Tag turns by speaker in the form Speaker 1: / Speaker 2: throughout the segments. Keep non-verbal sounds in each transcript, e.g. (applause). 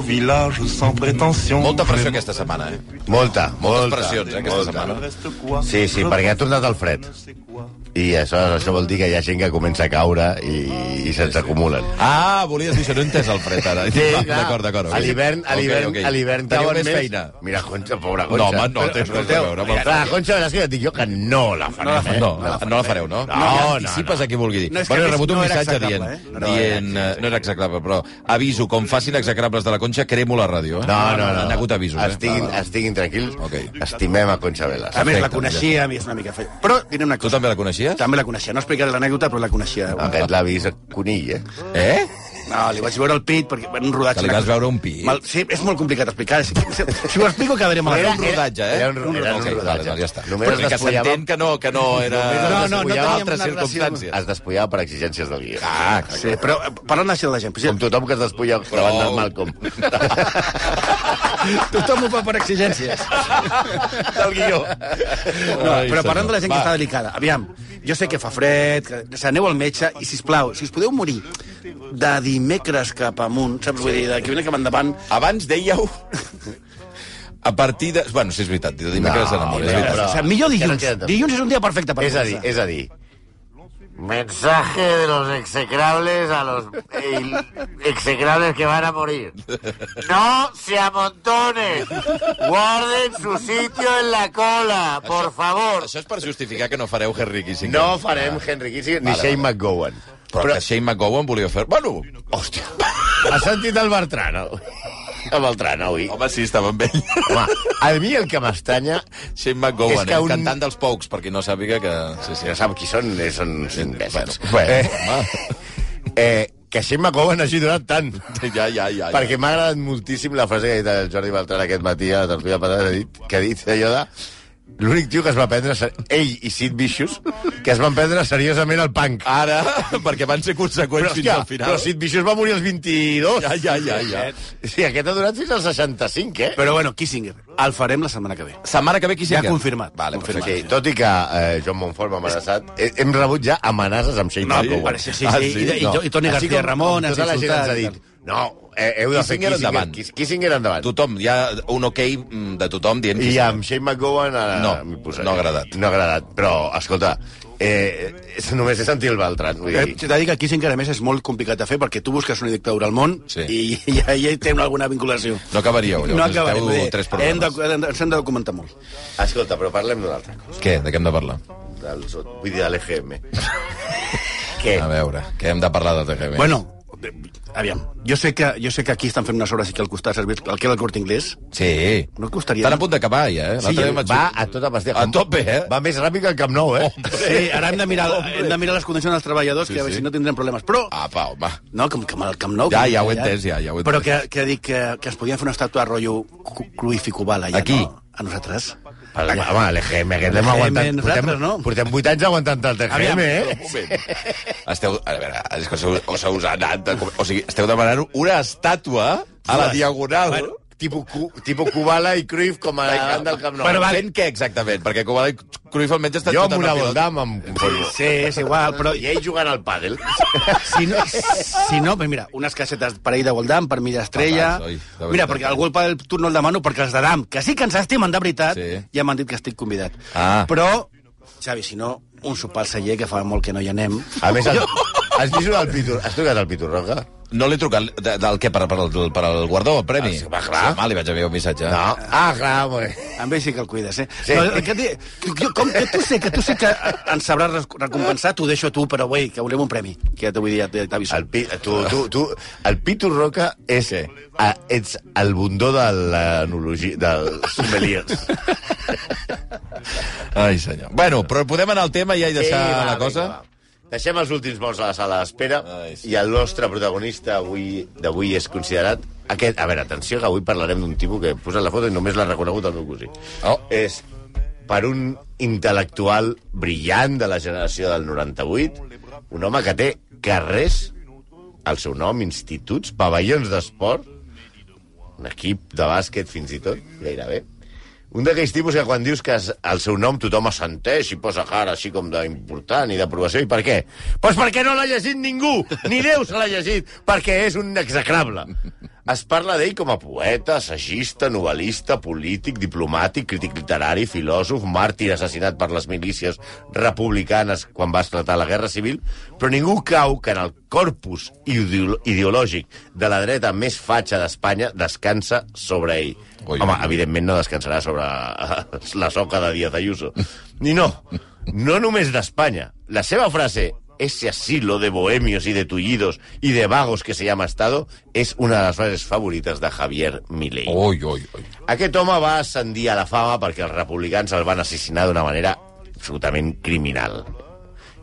Speaker 1: village sans prétention.
Speaker 2: Molta pressió aquesta setmana, eh?
Speaker 3: Molta, molta.
Speaker 2: pressions, eh, aquesta setmana.
Speaker 3: Sí, sí, perquè ha tornat el fred. I això, això vol dir que hi ha gent que comença a caure i, i se'ns acumulen.
Speaker 2: Ah, volies dir això, no he entès el fred, ara.
Speaker 3: clar.
Speaker 2: Va, D'acord, d'acord. ok.
Speaker 3: A l'hivern, a
Speaker 2: Ok,
Speaker 3: l'hivern,
Speaker 2: ok.
Speaker 3: a l'hivern
Speaker 2: Teniu
Speaker 3: cauen
Speaker 2: més
Speaker 3: més.
Speaker 2: feina.
Speaker 3: Mira, Concha, pobra Concha.
Speaker 2: No, home, no
Speaker 3: Però,
Speaker 2: tens res a
Speaker 3: escolteu,
Speaker 2: veure amb el
Speaker 3: Clar, Concha, veràs que jo et dic jo que no la farem, eh?
Speaker 2: No, no, no la fareu, no?
Speaker 3: No, no,
Speaker 2: Anticipes
Speaker 3: no.
Speaker 2: a qui vulgui dir.
Speaker 4: No, és que
Speaker 2: bueno, he
Speaker 4: a més
Speaker 2: rebut un
Speaker 4: no era
Speaker 2: missatge dient...
Speaker 4: execrable, eh? No, no,
Speaker 2: dient eh, no era exactable, però aviso, com facin execrables de la Conxa, cremo la ràdio. Eh?
Speaker 3: No, no, no.
Speaker 2: Han hagut avisos, eh?
Speaker 3: Estiguin,
Speaker 2: Va, va.
Speaker 3: estiguin tranquils.
Speaker 2: Ok.
Speaker 3: Estimem a Concha Velas.
Speaker 4: A més, la
Speaker 2: Perfecte,
Speaker 4: coneixia, a mi és una mica fe... Però diré una
Speaker 2: Tu
Speaker 4: cosa.
Speaker 2: també la coneixies?
Speaker 4: També la coneixia. No explicaré l'anècdota, però la coneixia.
Speaker 3: Aquest l'avís a Conill, eh?
Speaker 2: Eh?
Speaker 4: No, li vaig veure el pit, perquè en un rodatge...
Speaker 2: Que li vas veure un pit?
Speaker 4: Mal... Sí, és molt complicat explicar. eh, Si, si, si ho explico, quedaré
Speaker 2: Era,
Speaker 4: malament.
Speaker 2: un rodatge, eh?
Speaker 3: era un- era un
Speaker 2: Ok,
Speaker 3: rodatge.
Speaker 2: Vale, doncs ja està.
Speaker 3: Només
Speaker 2: Però que
Speaker 3: despullava-
Speaker 2: s'entén que no, que no era...
Speaker 4: No, no, no
Speaker 2: despullava
Speaker 4: teníem
Speaker 2: altres
Speaker 4: una relació.
Speaker 2: circumstàncies.
Speaker 3: Es despullava per exigències del guió.
Speaker 2: Ah, clar.
Speaker 4: Sí, però eh, parlant així de la gent... però
Speaker 3: Com
Speaker 4: Sí,
Speaker 3: tothom que es despulla davant del
Speaker 4: (laughs)
Speaker 3: Malcolm.
Speaker 4: tothom ho fa per exigències.
Speaker 3: del guió.
Speaker 4: No,
Speaker 2: Ai,
Speaker 4: però
Speaker 2: senyor.
Speaker 4: parlant de la gent que
Speaker 2: Va.
Speaker 4: està delicada, aviam, jo sé que fa fred, que o sigui, aneu al metge, i si plau, si us podeu morir de dimecres cap amunt, saps? Vull dir, de que viene cap endavant...
Speaker 2: Abans dèieu... A partir de... Bueno, sí, és veritat, de dimecres
Speaker 3: No,
Speaker 2: no,
Speaker 3: no,
Speaker 2: enamorés.
Speaker 3: no,
Speaker 2: No,
Speaker 3: però-
Speaker 4: o sigui, millor
Speaker 3: que no
Speaker 4: dilluns.
Speaker 3: queda temps.
Speaker 4: Dilluns és un dia perfecte per
Speaker 3: És a dir,
Speaker 4: morir-se.
Speaker 3: és a dir... Mensaje de los execrables a los execrables que van a morir. No se amontonen. Guarden su sitio en la cola, por favor.
Speaker 2: Això és per justificar que no fareu Henry Kissinger.
Speaker 3: No farem Henry Kissinger ni Shane McGowan.
Speaker 2: Però, però que Shane McGowan volia fer... Bueno,
Speaker 3: Hòstia. Ha sentit el Bertrano. El Bertrano, avui.
Speaker 2: home, sí, estava amb ell.
Speaker 3: Home, a mi el que m'estanya...
Speaker 2: Shane McGowan,
Speaker 3: És que
Speaker 2: eh?
Speaker 3: un-
Speaker 2: un... cantant dels Pocs, perquè no sàpiga que... Sí, sí. (laughs)
Speaker 3: Ja sap qui són, eh, són uns imbècils.
Speaker 2: Bueno,
Speaker 3: eh, eh, que Shane McGowan hagi donat tant.
Speaker 2: Ja, ja, ja. ja.
Speaker 3: Perquè m'ha agradat moltíssim la frase que ha dit el Jordi Beltran aquest matí a la tertúlia patata, que ha dit, que ha dit allò de... L'únic tio que es va prendre... ser- Ell i Sid Vicious, que es van prendre seriosament el punk.
Speaker 2: Ara, (laughs) perquè van ser conseqüents
Speaker 3: Però,
Speaker 2: fins
Speaker 3: hòstia,
Speaker 2: al final.
Speaker 3: però Sid Vicious va morir als 22.
Speaker 2: Ja, ja, ja, ja.
Speaker 3: Sí, aquest ha durat fins als 65, eh?
Speaker 4: Però bueno, Kissinger, el farem la setmana que ve.
Speaker 2: Setmana que ve qui
Speaker 4: Ja confirmat.
Speaker 2: Vale,
Speaker 4: Confirmat.
Speaker 3: Sí, tot i que eh, Joan Montfort m'ha amenaçat, he- hem rebut ja amenaces amb Shane
Speaker 4: No,
Speaker 3: McGowan.
Speaker 4: bueno, sí, sí,
Speaker 2: Ah,
Speaker 4: sí.
Speaker 2: sí?
Speaker 4: I, i,
Speaker 2: No.
Speaker 4: i Toni
Speaker 3: Així
Speaker 4: García
Speaker 3: com-
Speaker 4: Ramon
Speaker 3: com
Speaker 4: ens
Speaker 3: tota
Speaker 4: ha
Speaker 3: la gent ens
Speaker 4: insultat.
Speaker 3: ha dit, no, eh, heu de fer
Speaker 2: Kissinger
Speaker 3: Kissinger
Speaker 2: endavant.
Speaker 3: endavant. Kissinger endavant.
Speaker 2: Tothom, hi ha un ok mm, de tothom dient
Speaker 3: I
Speaker 2: qui sí.
Speaker 3: amb Shane McGowan... Ara
Speaker 2: No,
Speaker 3: m'hi posaré.
Speaker 2: no ha agradat.
Speaker 3: No ha agradat, però, escolta, eh, és- només he sentit el Beltran. Vull
Speaker 4: Eh,
Speaker 3: dir,
Speaker 4: T'he de dir que Kissinger, a més, és molt complicat de fer perquè tu busques una dictadura al món
Speaker 2: Sí.
Speaker 4: i, i, i hi té alguna vinculació.
Speaker 2: No acabaríeu, llavors.
Speaker 4: no acabarem.
Speaker 2: Necessiteu
Speaker 4: vull dir,
Speaker 2: tres
Speaker 4: hem de,
Speaker 2: programes.
Speaker 4: hem de- ens hem de documentar molt.
Speaker 3: escolta, però parlem d'una altra cosa.
Speaker 2: Què? De què hem de parlar?
Speaker 3: Del, sot- vull dir, de
Speaker 2: (laughs)
Speaker 3: l'EGM. Què?
Speaker 2: A veure, què hem de parlar de TGV?
Speaker 4: Bueno, eh, aviam, jo sé, que, jo sé que aquí estan fent unes obres i que al costat serveix el que era el Corte Inglés.
Speaker 2: Sí.
Speaker 4: No et costaria...
Speaker 2: Estan a punt d'acabar, ja, eh?
Speaker 3: Sí,
Speaker 2: L'altre dia vaig-
Speaker 3: va a tota pastilla.
Speaker 2: A tope, eh?
Speaker 3: Va més ràpid que el Camp Nou, eh?
Speaker 4: Sí, ara hem de
Speaker 2: (laughs)
Speaker 4: mirar, hem de mirar les condicions dels treballadors,
Speaker 2: Sí,
Speaker 4: que a veure
Speaker 2: sí.
Speaker 4: si no tindrem problemes. Però,
Speaker 2: Apa, "Ah, home.
Speaker 4: no, com que amb el Camp Nou...
Speaker 2: Ja,
Speaker 4: com-
Speaker 2: ja ho he entès, ja, ja ho he
Speaker 4: Però que,
Speaker 2: entès.
Speaker 4: que dic que, que es podien fer una estàtua rotllo Cu- Cruyff i Kubala, ja,
Speaker 2: Aquí?
Speaker 4: no? A nosaltres.
Speaker 3: Per la- Home, l'EGM, aquest l'hem aguantat.
Speaker 4: nosaltres,
Speaker 3: Portem,
Speaker 4: no?
Speaker 3: portem 8 anys aguantant el
Speaker 4: Aviam.
Speaker 3: TGM, eh?
Speaker 2: Un moment.
Speaker 3: (laughs)
Speaker 2: Esteu... A veure, és que us, us, us ha anat... De... O sigui, esteu demanant una estàtua a la Diagonal. Bueno,
Speaker 3: Tipo, Cu- tipo Kubala i Cruyff com a davant del Camp Nou.
Speaker 2: Bueno, vale. Fent què exactament? Perquè Covada i Cruyff almenys estan
Speaker 3: jo
Speaker 2: tot
Speaker 3: amb una
Speaker 2: pilota.
Speaker 3: boldam em conformo.
Speaker 4: Sí, és igual, però
Speaker 3: I ell jugant al pàdel.
Speaker 4: si no, si no pues mira, unes caixetes per ahir de Goldam, per mi d'Estrella...
Speaker 2: Fatals, oi? De veritat.
Speaker 4: Mira, perquè algú el pa del turno el demano, perquè els d'Adam, que sí que ens estimen de veritat,
Speaker 2: Sí.
Speaker 4: sí. ja m'han dit que estic convidat.
Speaker 2: Ah.
Speaker 4: Però, Xavi, si no, un sopar al celler, que fa molt que no hi anem.
Speaker 3: A més,
Speaker 2: (laughs)
Speaker 3: el, has vist el Pitur... Has trucat al Piturroca?
Speaker 2: No l'he trucat de, del què? Per, per, el, per el guardó, el premi?
Speaker 3: Ah, sí, va, clar.
Speaker 2: Sí, home, li vaig enviar un missatge.
Speaker 3: No. Ah, clar, molt bé.
Speaker 4: Amb ell sí que el cuides, eh?
Speaker 3: Sí.
Speaker 4: No, el que, di- jo, com que tu sé que tu sé que ens sabràs rec- recompensar, t'ho deixo a tu, però, güey, que volem un premi. Que ja t'ho vull dir, ja t'he- t'aviso.
Speaker 3: El, pi, tu, tu, tu, el Pitur Roca és, a, ets el bundó de l'anologia, del sommelier.
Speaker 2: Ai, senyor. Bueno, però podem anar al tema ja i deixar
Speaker 3: va,
Speaker 2: la cosa?
Speaker 3: Vinga, va. Deixem els últims morts a la sala d'espera
Speaker 2: Ai, sí.
Speaker 3: i el nostre protagonista avui d'avui és considerat aquest... A veure, atenció, que avui parlarem d'un tipus que he posat la foto i només l'ha reconegut el meu cosí.
Speaker 2: Oh.
Speaker 3: És per un intel·lectual brillant de la generació del 98, un home que té carrers al seu nom, instituts, pavellons d'esport, un equip de bàsquet fins i tot, gairebé. Un d'aquells tipus que quan dius que es, el seu nom tothom assenteix i posa cara així com d'important i d'aprovació. I per què? Doncs pues perquè no l'ha llegit ningú! Ni Déu se l'ha llegit! Perquè és un execrable. Es parla d'ell com a poeta, assagista, novel·lista, polític, diplomàtic, crític literari, filòsof, màrtir assassinat per les milícies republicanes quan va esclatar la Guerra Civil, però ningú cau que en el corpus ideolo- ideològic de la dreta més fatxa d'Espanya descansa sobre ell.
Speaker 2: Oi,
Speaker 3: Home,
Speaker 2: oi, oi.
Speaker 3: evidentment no descansarà sobre (laughs) la soca de Díaz Ayuso. Ni no, no només d'Espanya. La seva frase ese asilo de bohemios y de tullidos y de vagos que se llama Estado és una de les frases favorites de Javier Milei.
Speaker 2: Oi, oi, oi.
Speaker 3: Aquest home va ascendir a la fama perquè els republicans el van assassinar d'una manera absolutament criminal.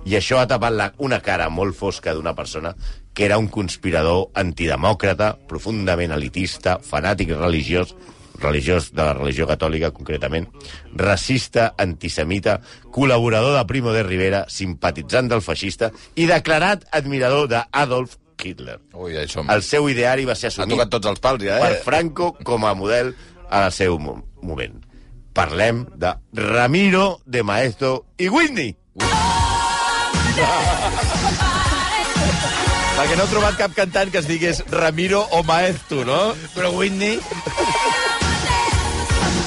Speaker 3: I això ha tapat la, una cara molt fosca d'una persona que era un conspirador antidemòcrata, profundament elitista, fanàtic religiós, religiós de la religió catòlica, concretament, racista, antisemita, col·laborador de Primo de Rivera, simpatitzant del feixista i declarat admirador d'Adolf Hitler.
Speaker 2: Oi, ja hi som.
Speaker 3: El seu ideari va ser
Speaker 2: Han
Speaker 3: assumit
Speaker 2: tocat tots els pals, ja,
Speaker 3: per
Speaker 2: eh?
Speaker 3: Franco com a model en el seu mo- moment. Parlem de Ramiro de Maestro i Whitney.
Speaker 2: Perquè no he trobat cap cantant que es digués Ramiro o Maestu, no?
Speaker 5: Però Whitney...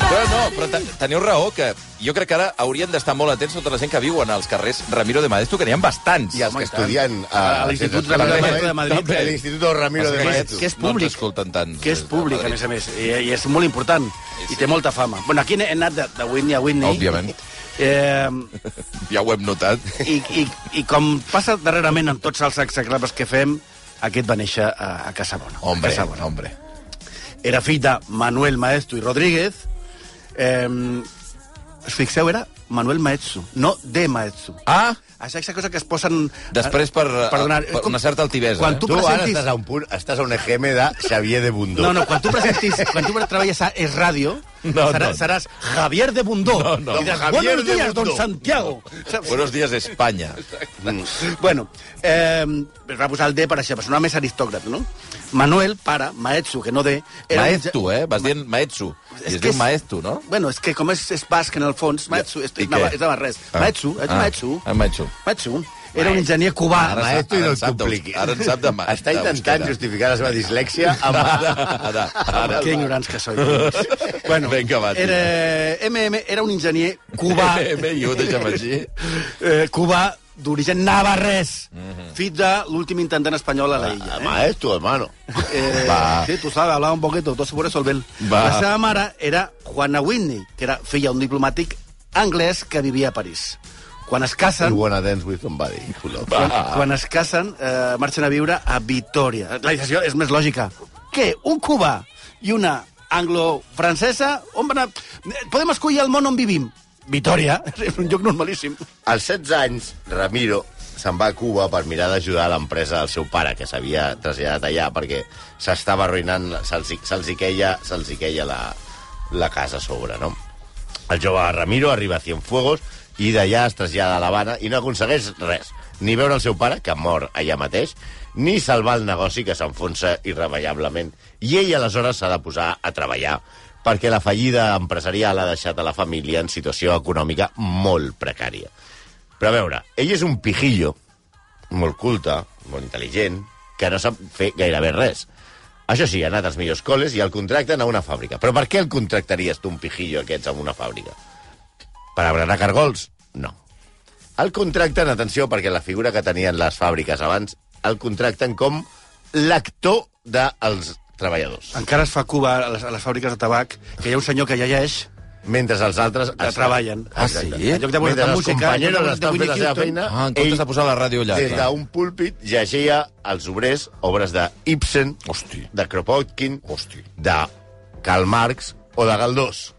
Speaker 2: Però no, però te- teniu raó que jo crec que ara haurien d'estar molt atents tota la gent que viuen als carrers Ramiro de Maestu, que n'hi ha bastants.
Speaker 3: I els que estudien eh,
Speaker 4: A l'Institut Ramiro de Maeztu de Madrid.
Speaker 3: A l'Institut Ramiro de
Speaker 4: Aquest-
Speaker 3: Maestro.
Speaker 4: que és
Speaker 2: No
Speaker 4: públic.
Speaker 2: ens escolten tant.
Speaker 4: que és públic, a més a més, i, i és molt important, i té molta fama. Bueno, aquí he anat de, de Whitney a Whitney.
Speaker 2: Òbviament.
Speaker 4: Eh,
Speaker 2: Ja ho hem notat.
Speaker 4: i, i, I com passa darrerament amb tots els exaclaves que fem, aquest va néixer a, a Casabona.
Speaker 2: Hombre,
Speaker 4: a Casabona.
Speaker 2: hombre.
Speaker 4: Era fill de Manuel Maestro i Rodríguez. Eh, us fixeu, era Manuel Maestro, no de Maestro.
Speaker 2: Ah,
Speaker 4: Això és aquesta cosa que es posen...
Speaker 2: Després per, eh,
Speaker 4: Perdona,
Speaker 2: per una certa altivesa.
Speaker 4: Quan
Speaker 2: eh?
Speaker 4: tu,
Speaker 3: Tu ara
Speaker 4: presentis...
Speaker 3: estàs a un punt, estàs a un EGM de Xavier de Bundó.
Speaker 4: No, no, quan tu presentis, quan tu treballes a Es Radio,
Speaker 2: No,
Speaker 4: serà,
Speaker 2: no.
Speaker 4: seràs Javier de Bundó.
Speaker 2: No, no.
Speaker 4: I diràs,
Speaker 3: Javier
Speaker 4: buenos
Speaker 3: de
Speaker 4: días,
Speaker 3: Bundó".
Speaker 4: don Santiago. Saps?
Speaker 2: Buenos días, Espanya.
Speaker 4: Mm. Bueno, eh, es va posar el D per això, per sonar més aristòcrat, no? Manuel, pare, Maetsu, que no D... era un ja-
Speaker 2: Maestro, eh? Vas dient maestro. I es diu maestro, no?
Speaker 4: Bueno, és que com és, és basc en el fons, Maetsu, és,
Speaker 2: I
Speaker 4: és, nava,
Speaker 2: què?
Speaker 4: és navarrès.
Speaker 2: Ah.
Speaker 4: Maetsu, ets
Speaker 2: Ah.
Speaker 4: Maetsu.
Speaker 2: Ah, Maetsu.
Speaker 4: Maetsu. Era un enginyer cubà.
Speaker 3: Ara
Speaker 2: Ara
Speaker 3: Maestro i
Speaker 2: en
Speaker 3: no
Speaker 2: sap de-
Speaker 3: compliqui.
Speaker 2: Ara en sap de ma-
Speaker 3: Està
Speaker 2: de
Speaker 3: intentant
Speaker 2: euskera.
Speaker 3: justificar la seva dislèxia amb...
Speaker 2: Ara, ara.
Speaker 4: Que ignorants
Speaker 2: (laughs)
Speaker 4: que soy. bueno,
Speaker 2: Vinga, va, tira.
Speaker 4: era, MM era un enginyer
Speaker 2: (laughs)
Speaker 4: cubà,
Speaker 2: Bé, jo ho deixem així.
Speaker 4: eh, cubà d'origen navarrès,
Speaker 2: Mhm.
Speaker 4: fill de l'últim intendent espanyol a
Speaker 2: Ah,
Speaker 4: la illa. Eh?
Speaker 3: Maestro, hermano.
Speaker 4: Eh, sí, tú sabes, hablaba un poquito, entonces por eso el Bel.
Speaker 2: Va.
Speaker 4: La seva mare era Juana Whitney, que era filla d'un diplomàtic anglès que vivia a París. Quan es casen...
Speaker 3: You wanna dance with somebody. culo.
Speaker 4: Quan, quan es casen, eh, marxen a viure a Vitoria. La decisió és més lògica. Que un cubà i una anglo-francesa... On van a... Podem escollir el món on vivim. Vitoria. (laughs) És un lloc normalíssim.
Speaker 3: Als 16 anys, Ramiro se'n va a Cuba per mirar d'ajudar l'empresa del seu pare, que s'havia traslladat allà, perquè s'estava arruïnant, se'ls se hi queia, se hi queia la, la casa a sobre, no? El jove Ramiro arriba a Cienfuegos i d'allà es trasllada a l'Havana i no aconsegueix res, ni veure el seu pare, que mor allà mateix, ni salvar el negoci, que s'enfonsa irremeiablement. I ell aleshores s'ha de posar a treballar, perquè la fallida empresarial ha deixat a la família en situació econòmica molt precària. Però a veure, ell és un pijillo, molt culte, molt intel·ligent, que no sap fer gairebé res. Això sí, ha anat als millors col·les i el contracten a una fàbrica. Però per què el contractaries tu un pijillo aquests a una fàbrica? Per abranar cargols? No. El contracten, atenció, perquè la figura que tenien les fàbriques abans, el contracten com l'actor dels treballadors.
Speaker 4: Encara es fa a Cuba, a les, a les fàbriques de tabac, que hi ha un senyor que llegeix
Speaker 3: Mentre els altres...
Speaker 4: que treballen.
Speaker 2: Ah, sí?
Speaker 4: En lloc
Speaker 3: Mentre
Speaker 4: de posar
Speaker 3: els
Speaker 4: música, en lloc de
Speaker 3: companyeros
Speaker 4: posar
Speaker 3: estan
Speaker 4: Whitney
Speaker 3: fent la seva
Speaker 4: Houston,
Speaker 3: feina,
Speaker 2: Ah, en comptes
Speaker 3: ell-
Speaker 2: de posar la ràdio allà.
Speaker 3: des
Speaker 2: clar.
Speaker 3: d'un púlpit llegia als obrers obres de Ibsen,
Speaker 2: Hosti.
Speaker 3: de Kropotkin,
Speaker 2: Hosti.
Speaker 3: de Karl Marx o de Galdós.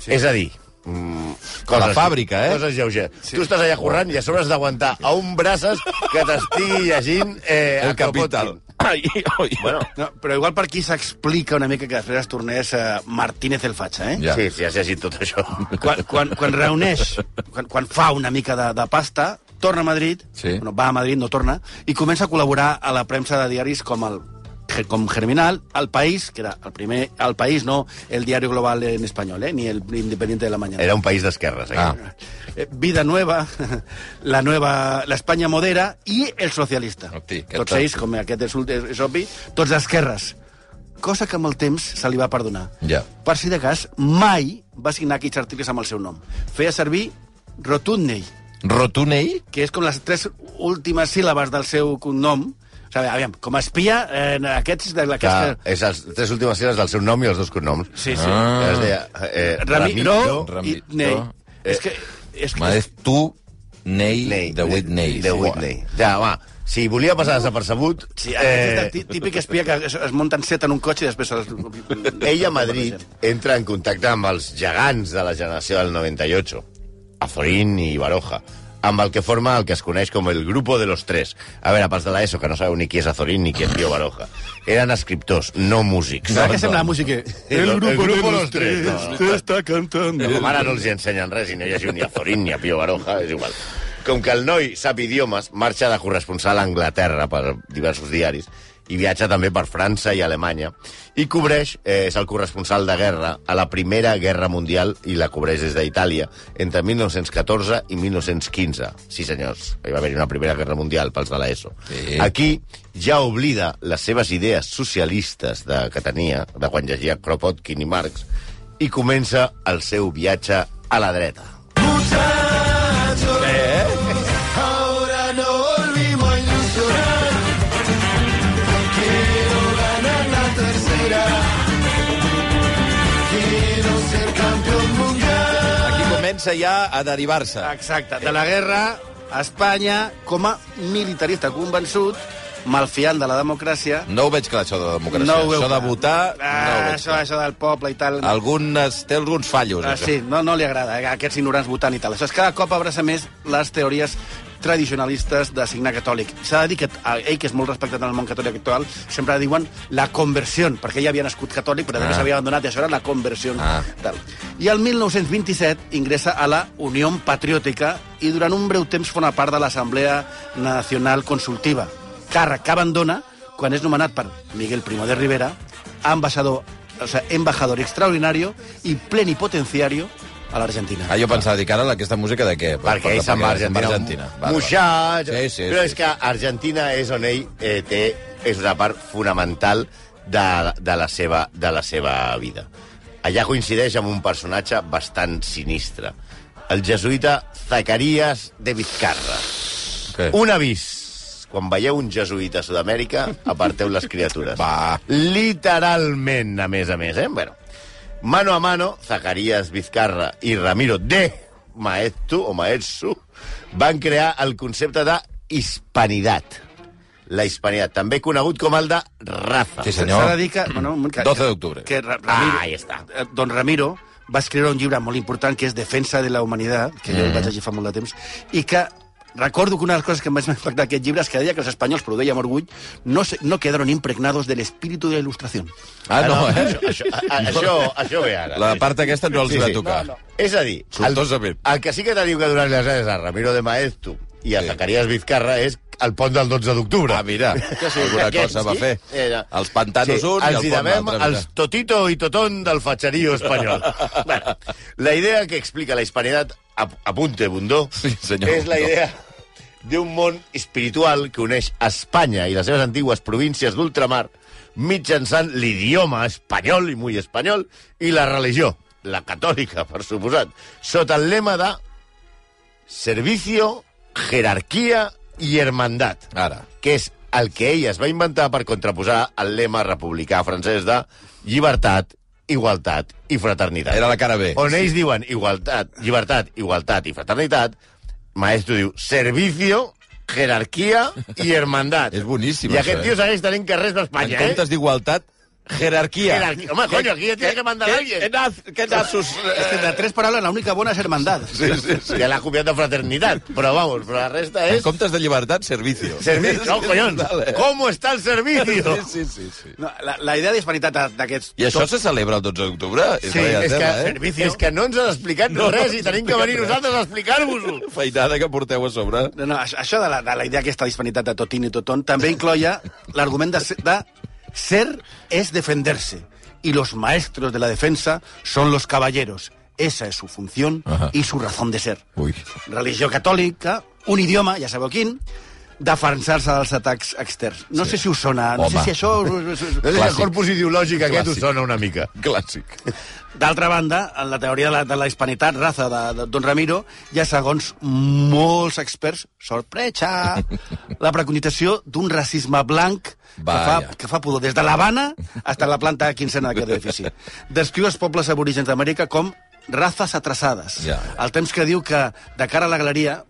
Speaker 3: Sí. És a dir, mm, coses,
Speaker 2: la fàbrica, eh?
Speaker 3: Coses lleugeres. Sí. Tu estàs allà currant i a sobre has d'aguantar a un braces que t'estigui llegint eh,
Speaker 2: El
Speaker 3: a Kropotkin.
Speaker 2: capital. Ai, oi.
Speaker 3: Bueno,
Speaker 4: No, però igual per aquí s'explica una mica que després es tornés eh, Martínez el Fatxa, eh?
Speaker 2: Ja.
Speaker 3: sí, sí, has llegit tot això.
Speaker 4: Quan, quan, quan reuneix, quan, quan fa una mica de, de pasta, torna a Madrid,
Speaker 2: Sí.
Speaker 4: bueno, va a Madrid, no torna, i comença a col·laborar a la premsa de diaris com el com Germinal, El País, que era el primer... El País, no el Diario Global en espanyol, eh? ni el Independiente de la Mañana.
Speaker 3: Era un país d'esquerres, eh?
Speaker 2: Ah.
Speaker 4: Eh, Vida Nueva, (laughs) la nueva, l'Espanya Modera i el Socialista.
Speaker 2: Hosti, aquest
Speaker 4: tots ells, com aquest és, ult- és, és obvi, tots d'esquerres. cosa que amb el temps se li va perdonar.
Speaker 2: Ja.
Speaker 4: Per si de cas, mai va signar aquests articles amb el seu nom. Feia servir Rotundney,
Speaker 2: Rotunell?
Speaker 4: que és com les tres últimes síl·labes del seu cognom. O sigui, aviam, com a espia, eh, aquests... De,
Speaker 3: Que
Speaker 4: aquests
Speaker 3: és les tres últimes síl·labes del seu nom i els dos cognoms.
Speaker 4: Sí, sí.
Speaker 2: Ah.
Speaker 3: Que Es deia, eh,
Speaker 4: Ramiro, i
Speaker 2: Ramiro.
Speaker 4: Ney.
Speaker 3: Eh,
Speaker 4: és que... És que
Speaker 2: M'ha dit tu, Ney,
Speaker 3: Ney,
Speaker 2: de Whitney.
Speaker 3: De Whitney. Ja, va, si volia passar desapercebut...
Speaker 4: Sí, eh... és el típic espia que es, es munten set en un cotxe i després... Se les...
Speaker 3: (laughs) Ell a Madrid entra en contacte amb els gegants de la generació del 98, Azorín i Baroja, amb el que forma el que es coneix com el Grupo de los Tres. A veure, pels de l'ESO, que no sabeu ni qui és Azorín ni qui és Pío Baroja. Eren escriptors, no músics.
Speaker 4: Serà que sembla la música?
Speaker 3: no.
Speaker 4: te está cantando.
Speaker 3: Com ara no els hi ensenyen res i no hi ha ni Azorín ni a Pío Baroja, és igual. Com que el noi sap idiomes, marxa de corresponsal a Anglaterra per diversos diaris i viatja també per França i Alemanya. I cobreix, eh, és el corresponsal de guerra a la Primera Guerra Mundial i la cobreix des d'Itàlia entre 1914 i 1915. Sí, senyors, hi va haver una Primera Guerra Mundial pels de l'ESO.
Speaker 2: Sí.
Speaker 3: Sí. Aquí ja oblida les seves idees socialistes de, que tenia, de quan llegia Kropotkin i Marx, i comença el seu viatge a la dreta.
Speaker 2: Aquí comença ja a derivar-se.
Speaker 4: Exacte, de la guerra a Espanya com a militarista convençut, malfiant de la democràcia...
Speaker 2: No ho veig clar, això de democràcia.
Speaker 4: ho veu
Speaker 2: això de
Speaker 4: clar.
Speaker 2: votar, no ho
Speaker 4: Ah,
Speaker 2: veig
Speaker 4: això,
Speaker 2: clar.
Speaker 4: això del poble i tal...
Speaker 2: Algunes, té alguns fallos,
Speaker 4: Ah,
Speaker 2: això.
Speaker 4: sí, no, no li agrada, eh, aquests ignorants votant i tal. Això és cada cop abraça més les teories tradicionalistes de signe catòlic. S'ha de dir que a ell, que és molt respectat en el món catòlic actual, sempre diuen la conversió, perquè ell havia nascut catòlic, però
Speaker 2: Ah.
Speaker 4: després s'havia abandonat, i això era la conversió.
Speaker 2: Ah.
Speaker 4: Tal. I el 1927 ingressa a la Unió Patriòtica i durant un breu temps forma part de l'Assemblea Nacional Consultiva, càrrec que abandona quan és nomenat per Miguel Primo de Rivera, ambaixador, o sea, embajador extraordinario i plenipotenciario a l'Argentina.
Speaker 2: Ah, jo pensava, dic, ara aquesta música de què?
Speaker 3: Perquè ell se'n va a Argentina.
Speaker 2: Argentina. Vale,
Speaker 3: Vale,
Speaker 2: vale.
Speaker 3: Muixat...
Speaker 2: Sí, sí,
Speaker 3: Però
Speaker 2: sí,
Speaker 3: és que Argentina és on ell eh, té... És una part fonamental de, de, la seva, de la seva vida. Allà coincideix amb un personatge bastant sinistre. El jesuïta Zacarías de Vizcarra.
Speaker 2: Què?
Speaker 3: Un avís. Quan veieu un jesuïta a Sud-amèrica, aparteu les criatures.
Speaker 2: Va.
Speaker 3: Literalment, a més a més, eh? Bueno, mano a mano, Zacarías Vizcarra i Ramiro de Maestu, o Maetsu, van crear el concepte de hispanitat. La hispanitat, també conegut com el de raza.
Speaker 2: Sí, senyor.
Speaker 4: S'ha de dir que... Bueno, un moment, que
Speaker 2: 12 d'octubre.
Speaker 4: Que Ra- Ramiro,
Speaker 3: Ah, ahí està.
Speaker 4: eh, Don Ramiro va escriure un llibre molt important que és Defensa de la Humanitat, que
Speaker 3: Mm.
Speaker 4: jo el vaig llegir fa molt de temps, i que recordo que una de les coses que em vaig (laughs) impactar d'aquest llibre és que deia que els espanyols, però ho deia amb orgull, no, se, no quedaron impregnados del espíritu de la il·lustració.
Speaker 2: Ah, no, eh?
Speaker 3: Això, això, a- això, això ve ara.
Speaker 2: La part aquesta no els va tocar.
Speaker 3: No, no. És a dir, el,
Speaker 2: Sortosament.
Speaker 3: el que sí que teniu que donar les gràcies a Ramiro de Maestu i a
Speaker 2: Sí.
Speaker 3: Zacarías Vizcarra és el pont del 12 d'octubre. (laughs)
Speaker 2: Ah, mira, alguna
Speaker 3: Aquest
Speaker 2: cosa va
Speaker 3: sí,
Speaker 2: fer.
Speaker 3: era.
Speaker 2: Els pantanos
Speaker 3: Sí,
Speaker 2: un i
Speaker 3: els
Speaker 2: el
Speaker 3: hi
Speaker 2: pont
Speaker 3: devem
Speaker 2: l'altre. mira.
Speaker 3: els Totito i Totón del fatxerío
Speaker 2: (laughs)
Speaker 3: espanyol. bueno, la idea que explica la hispanitat, ap- apunte, Bundó,
Speaker 2: Sí, senyor
Speaker 3: és la
Speaker 2: Bundó.
Speaker 3: idea d'un món espiritual que uneix Espanya i les seves antigues províncies d'ultramar mitjançant l'idioma espanyol i muy espanyol i la religió, la catòlica, per suposat, sota el lema de servicio, jerarquia i hermandat
Speaker 2: Ara.
Speaker 3: que és el que ell es va inventar per contraposar el lema republicà francès de llibertat, igualtat i fraternitat.
Speaker 2: Era la cara B.
Speaker 3: On ells diuen igualtat, llibertat, igualtat i fraternitat, Maestro diu servicio, jerarquia i hermandat.
Speaker 2: És boníssim,
Speaker 3: I
Speaker 2: això,
Speaker 3: aquest
Speaker 2: eh?
Speaker 3: tio segueix tenint carrers
Speaker 2: En
Speaker 3: d'Espanya, eh?
Speaker 2: comptes d'igualtat, jerarquia.
Speaker 3: Jerarquia. Home, coño, aquí ja tiene que mandar
Speaker 2: ¿Qué-
Speaker 3: alguien.
Speaker 2: qué naz- ¿Qué
Speaker 3: (laughs)
Speaker 2: nazos?
Speaker 4: És que de tres paraules, l'única bona és hermandad.
Speaker 3: Sí, sí, sí. eh? Ja l'ha copiat de fraternitat, però vamos, però la resta
Speaker 2: En
Speaker 3: és...
Speaker 2: comptes de llibertat, servicio.
Speaker 3: Servicio,
Speaker 2: (laughs)
Speaker 3: no, collons!
Speaker 2: Dale. eh?
Speaker 3: ¿Cómo está el servicio?
Speaker 2: (laughs) Sí, sí, sí, sí.
Speaker 4: No, la, la idea d'hispanitat d'aquests...
Speaker 2: I això se celebra el 12 d'octubre?
Speaker 3: Sí,
Speaker 2: la
Speaker 3: és que,
Speaker 2: tema, eh?
Speaker 3: servicio. és que no ens han explicat no, res i tenim que venir nosaltres a explicar-vos-ho.
Speaker 2: Feinada que porteu a sobre.
Speaker 4: No, no, això- això de la, de la idea aquesta disponibilitat de Totín i Totón també incloia l'argument de, ser- de ser es defenderse y los maestros de la defensa son los caballeros. Esa es su función
Speaker 2: Ajá.
Speaker 4: y su razón de ser.
Speaker 2: Ui.
Speaker 4: Religió catòlica, un idioma, ja sabeu quin, defensar-se dels atacs externs. No sí. sé si us sona, no
Speaker 2: Home.
Speaker 4: sé si això... us-
Speaker 3: No
Speaker 4: us- us-
Speaker 3: sé si el
Speaker 2: Clàssic.
Speaker 3: corpus ideològic aquest us
Speaker 2: Clàssic.
Speaker 3: sona una mica.
Speaker 2: Clàssic.
Speaker 4: D'altra banda, en la teoria de la, de la hispanitat, raza de, de Don Ramiro, hi ha, segons molts experts,
Speaker 2: (laughs)
Speaker 4: sorpresa, la preconitació d'un racisme blanc que fa,
Speaker 2: Vaja.
Speaker 4: que fa pudor des de l'Havana fins a la planta quincena d'aquest edifici. Descriu els pobles aborígens d'Amèrica com razas atrasades.
Speaker 2: Ja.
Speaker 4: Al temps que diu que, de cara a la galeria,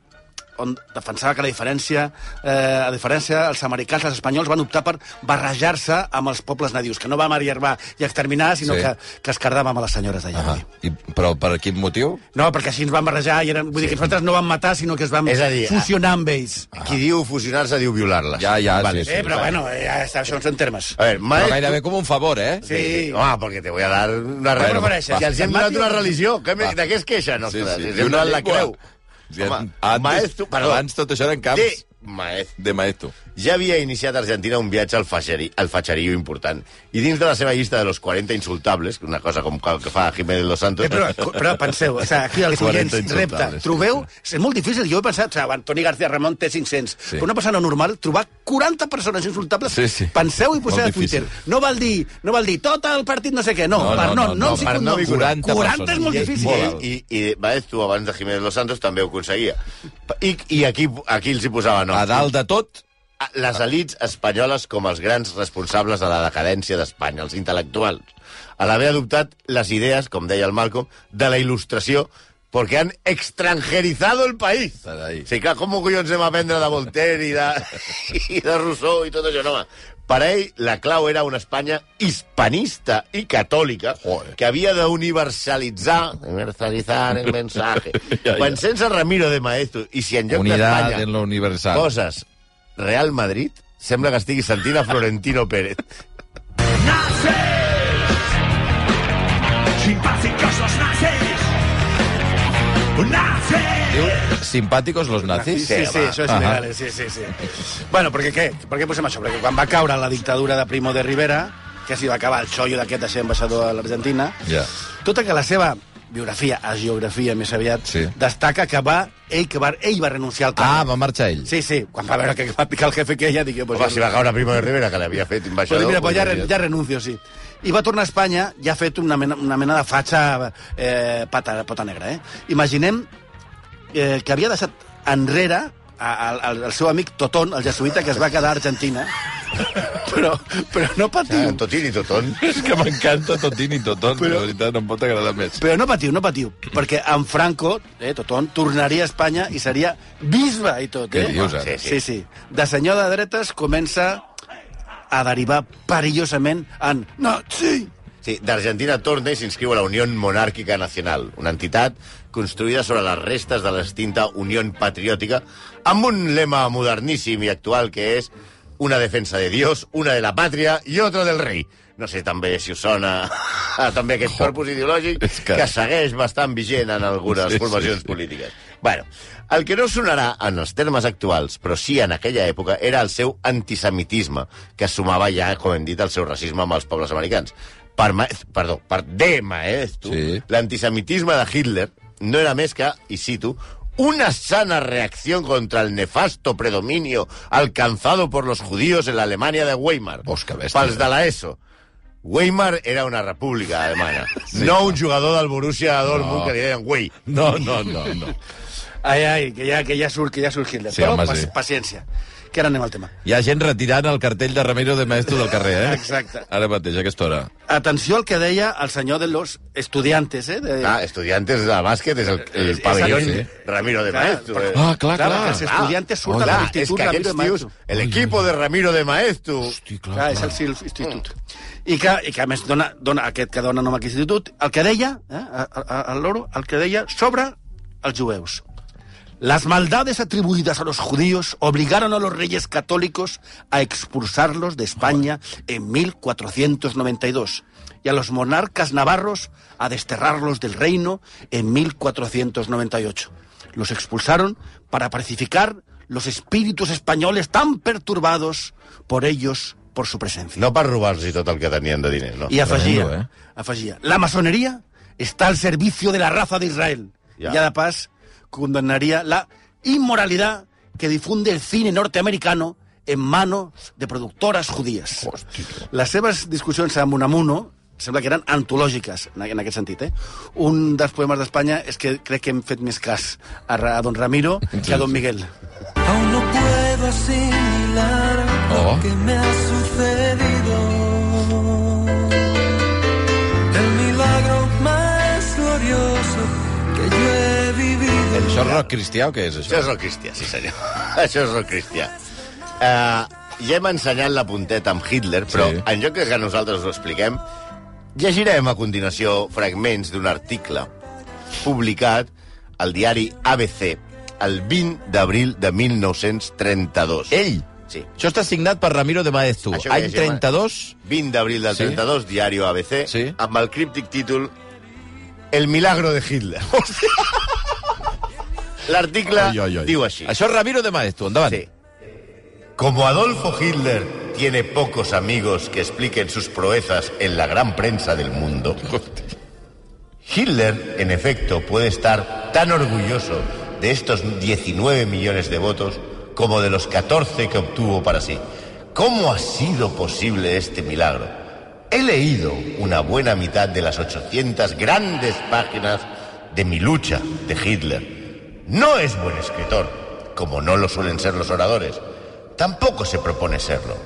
Speaker 4: on defensava que la diferència, eh, a diferència, els americans, els espanyols, van optar per barrejar-se amb els pobles nadius, que no va mariarbar i exterminar, sinó
Speaker 2: Sí.
Speaker 4: sí. que, que es cardàvem a les senyores d'allà.
Speaker 2: Ah, i, però per quin motiu?
Speaker 4: No, perquè així ens van barrejar i eren... Vull dir que nosaltres no vam matar, sinó que es vam
Speaker 3: És a dir,
Speaker 4: fusionar amb ells.
Speaker 3: Qui diu fusionar-se diu violar-les.
Speaker 2: Ja, ja,
Speaker 3: Vale.
Speaker 2: Ah, sí,
Speaker 4: Eh,
Speaker 2: sí.
Speaker 4: però bueno, eh, ja està, això són termes.
Speaker 3: A veure,
Speaker 2: Però
Speaker 3: maestro...
Speaker 2: gairebé com un favor, eh?
Speaker 4: Sí.
Speaker 3: Home, perquè te voy a dar una
Speaker 2: Bueno,
Speaker 3: religió.
Speaker 2: va.
Speaker 3: si els hem
Speaker 4: Va.
Speaker 3: donat una religió, que me,
Speaker 2: Va.
Speaker 3: de què es queixen? Sí,
Speaker 2: Sí,
Speaker 3: sí.
Speaker 2: sí. I
Speaker 3: Hem
Speaker 2: una
Speaker 3: donat la
Speaker 2: llengua.
Speaker 3: creu.
Speaker 2: Sí,
Speaker 3: Home,
Speaker 2: antes-
Speaker 3: maestro, perdó.
Speaker 2: Abans tot això eren camps
Speaker 3: De
Speaker 2: de,
Speaker 3: maestro.
Speaker 2: maestro.
Speaker 3: Ja havia iniciat a Argentina un viatge al, facheri, al fatxerio important. I dins de la seva llista de los 40 insultables, una cosa com que que fa Jiménez Los Santos...
Speaker 4: Eh, però, però penseu, o sigui, aquí els
Speaker 2: 40
Speaker 4: oients, repte,
Speaker 2: insultables, sí,
Speaker 4: trobeu... És molt difícil, jo he pensat, o sigui, Antoni García Ramon té 500,
Speaker 2: Sí.
Speaker 4: però una persona normal, trobar 40 persones insultables,
Speaker 2: Sí, sí.
Speaker 4: penseu i poseu
Speaker 2: Molt
Speaker 4: a Twitter.
Speaker 2: difícil.
Speaker 4: No val dir, no val dir tot el partit no sé què, no,
Speaker 2: No, no,
Speaker 4: per
Speaker 2: no,
Speaker 4: no,
Speaker 2: no,
Speaker 4: no,
Speaker 2: per
Speaker 4: no,
Speaker 2: no dir 40
Speaker 4: 40 és
Speaker 2: persones.
Speaker 4: molt
Speaker 2: I-
Speaker 4: difícil.
Speaker 2: molt
Speaker 4: eh?
Speaker 2: alt.
Speaker 3: I, i, i Maestro, abans de Jiménez Los Santos, també ho aconseguia. I, i aquí, aquí els hi posava nom.
Speaker 2: A dalt de tot,
Speaker 3: Ah, les elites espanyoles com els grans responsables de la decadència d'Espanya, els intel·lectuals, a l'haver adoptat les idees, com deia el Malcolm, de la il·lustració, perquè han extranjerizado el país.
Speaker 2: Carai.
Speaker 3: Sí, clar, com collons hem aprendre de Voltaire i de, (laughs) i de Rousseau i tot això, no, home. Per a ell, la clau era una Espanya hispanista i catòlica
Speaker 2: Joder.
Speaker 3: que havia d'universalitzar universalitzar el mensaje.
Speaker 2: (laughs) Ja, ja.
Speaker 3: Quan sense Ramiro de Maestro i si en lloc
Speaker 2: unidad
Speaker 3: d'Espanya
Speaker 2: en lo universal.
Speaker 3: coses. Real Madrid, sembla que estigui sentint a Florentino Pérez.
Speaker 5: Simpáticos nazis. Nazis.
Speaker 2: Diu, simpàticos los nazis.
Speaker 4: Sí, sí, sí,
Speaker 3: va.
Speaker 4: això és
Speaker 2: Ahà.
Speaker 4: legal, eh? sí, sí, sí. Bueno, perquè què? Per què posem això? Perquè quan va caure la dictadura de Primo de Rivera, que s'hi va acabar el xollo d'aquest de ser ambaixador a l'Argentina,
Speaker 2: Ja.
Speaker 4: tota que la seva biografia, a geografia més aviat,
Speaker 2: Sí.
Speaker 4: destaca que va, ell, que va, ell va renunciar al
Speaker 2: Ah,
Speaker 4: càrrec.
Speaker 2: va marxar ell.
Speaker 4: Sí, sí, quan va veure que va picar el jefe que ella, digui... (laughs) Pues,
Speaker 3: Home, si va caure Primo de Rivera, que l'havia fet
Speaker 4: Però
Speaker 3: ambaixador...
Speaker 4: mira, pues ja, re-
Speaker 3: podria-
Speaker 4: ja renuncio, sí. I va tornar a Espanya i ha fet una mena, una mena de fatxa eh, pata, pota negra, eh? Imaginem eh, que havia deixat enrere a, a, al, al seu amic Totón, el jesuïta, que es va quedar a Argentina. (laughs) però, però no
Speaker 3: Ah,
Speaker 4: patiu.
Speaker 3: Totín i Totón.
Speaker 2: És (laughs) que m'encanta Totín i Totón, però... la veritat no em pot agradar més.
Speaker 4: Però no patiu, no patiu, perquè en Franco, eh, Totón, tornaria a Espanya i seria bisbe i tot.
Speaker 2: Què
Speaker 4: eh?
Speaker 2: dius,
Speaker 3: sí,
Speaker 2: ara?
Speaker 4: Sí, sí. De senyor de dretes comença a derivar perillosament en... No, sí!
Speaker 3: Sí, d'Argentina torna i s'inscriu a la Unió Monàrquica Nacional, una entitat construïda sobre les restes de l'extinta Unió Patriòtica, amb un lema moderníssim i actual que és una defensa de Dios, una de la pàtria i otra del rei. No sé també si us sona (laughs) també aquest corpus ideològic
Speaker 2: és que-
Speaker 3: que... segueix bastant vigent en algunes
Speaker 2: Sí, sí,
Speaker 3: formacions
Speaker 2: sí.
Speaker 3: polítiques. Bueno, el que no sonarà en els termes actuals, però sí en aquella època, era el seu antisemitisme, que sumava ja, com hem dit, el seu racisme amb els pobles americans. Per, ma... perdó, per de maestro,
Speaker 2: Sí.
Speaker 3: sí. l'antisemitisme de Hitler no era més que, i cito, una sana reacción contra el nefasto predominio alcanzado por los judíos en la Alemania de Weimar.
Speaker 2: Os, que bèstia. eh?
Speaker 3: Pels de la ESO. Weimar era una república
Speaker 2: (laughs)
Speaker 3: alemana, no un jugador del Borussia Dortmund
Speaker 2: No.
Speaker 3: que li deien Wey.
Speaker 2: No, no, no, no.
Speaker 4: Ai, ai, que ja, que ja surt, que ja surt Hitler.
Speaker 2: Sí,
Speaker 4: Però
Speaker 2: home,
Speaker 4: pas,
Speaker 2: sí.
Speaker 4: paciència, que ara anem al tema.
Speaker 2: Hi ha gent retirant el cartell de Ramiro de Maestro del carrer, eh?
Speaker 4: Exacte.
Speaker 2: Ara mateix, a aquesta hora.
Speaker 4: Atenció al que deia el senyor de los estudiantes, eh? De...
Speaker 3: Ah, estudiantes de bàsquet és el, el
Speaker 4: És-
Speaker 3: pavelló
Speaker 4: és
Speaker 2: el-
Speaker 3: Eh, sí. Ramiro de
Speaker 4: Clar,
Speaker 3: Maestro.
Speaker 4: però-
Speaker 3: eh.
Speaker 2: Ah, clar, clar.
Speaker 4: perquè els estudiantes surten
Speaker 3: Clar,
Speaker 4: a
Speaker 3: Ah, és
Speaker 4: l'institut
Speaker 3: que
Speaker 4: Ramiro
Speaker 3: aquests
Speaker 4: de
Speaker 3: tios,
Speaker 4: Maestro.
Speaker 3: el equipo de Ramiro de Maestro,
Speaker 2: Hosti, clar,
Speaker 6: Ah,
Speaker 4: Clar, és el SILF Institut. I que, I que, a més, dona, dona aquest que dona nom a aquest institut, el que deia, eh, a- a- a l'oro, el que deia sobre els jueus. Las maldades atribuidas a los judíos obligaron a los reyes católicos a expulsarlos de España en 1492 y a los monarcas navarros a desterrarlos del reino en 1498. Los expulsaron para pacificar los espíritus españoles tan perturbados por ellos por su presencia.
Speaker 3: no per robar-los tot el que tenien de diners, no?
Speaker 4: Y afegía,
Speaker 2: Tremendo,
Speaker 4: afegía, la masonería está al servicio de la raza de Israel.
Speaker 3: Ya.
Speaker 4: Ya, la paz condenaría la inmoralidad que difunde el cine norteamericano en manos de productoras judíes. Les seves discussions amb Unamuno sembla que eren antològiques, en en aquest sentit. Eh? Un dels poemes d'Espanya és que crec que hem fet més cas a, Ra- a Don Ramiro que a Don Miguel.
Speaker 6: Aún no puedo asimilar
Speaker 2: Oh.
Speaker 6: lo que me ha sucedido. El milagro más glorioso que yo he vivido.
Speaker 2: Això és rock cristià o què és,
Speaker 3: Això
Speaker 2: això?
Speaker 3: és el cristià, sí senyor. (laughs) Això és el cristià. Uh, ja hem ensenyat la punteta amb Hitler, però
Speaker 2: Sí.
Speaker 3: sí. en lloc que- que nosaltres ho expliquem, llegirem a continuació fragments d'un article publicat al diari ABC el 20 d'abril de 1932.
Speaker 2: Ell!
Speaker 3: Sí.
Speaker 2: Això està signat per Ramiro de Maeztu.
Speaker 3: Això que
Speaker 2: Any
Speaker 3: llegim, eh?
Speaker 2: 32,
Speaker 3: 20 d'abril del
Speaker 2: Sí.
Speaker 3: 32, diari ABC,
Speaker 2: Sí.
Speaker 3: amb el críptic títol El milagro de (laughs) Hitler. L'article
Speaker 2: Ai, ai, ai.
Speaker 3: diu així.
Speaker 2: això és Ah, Ramiro de Maeztu, endavant.
Speaker 3: Sí. Como Adolfo Hitler tiene pocos amigos que expliquen sus proezas en la gran prensa del mundo, Hitler, en efecto, puede estar tan orgulloso de estos 19 millones de votos como de los 14 que obtuvo para sí. ¿Cómo ha sido posible este milagro? He leído una buena mitad de las 800 grandes páginas de mi lucha de Hitler. No es buen escritor, como no lo suelen ser los oradores. Tampoco se propone serlo.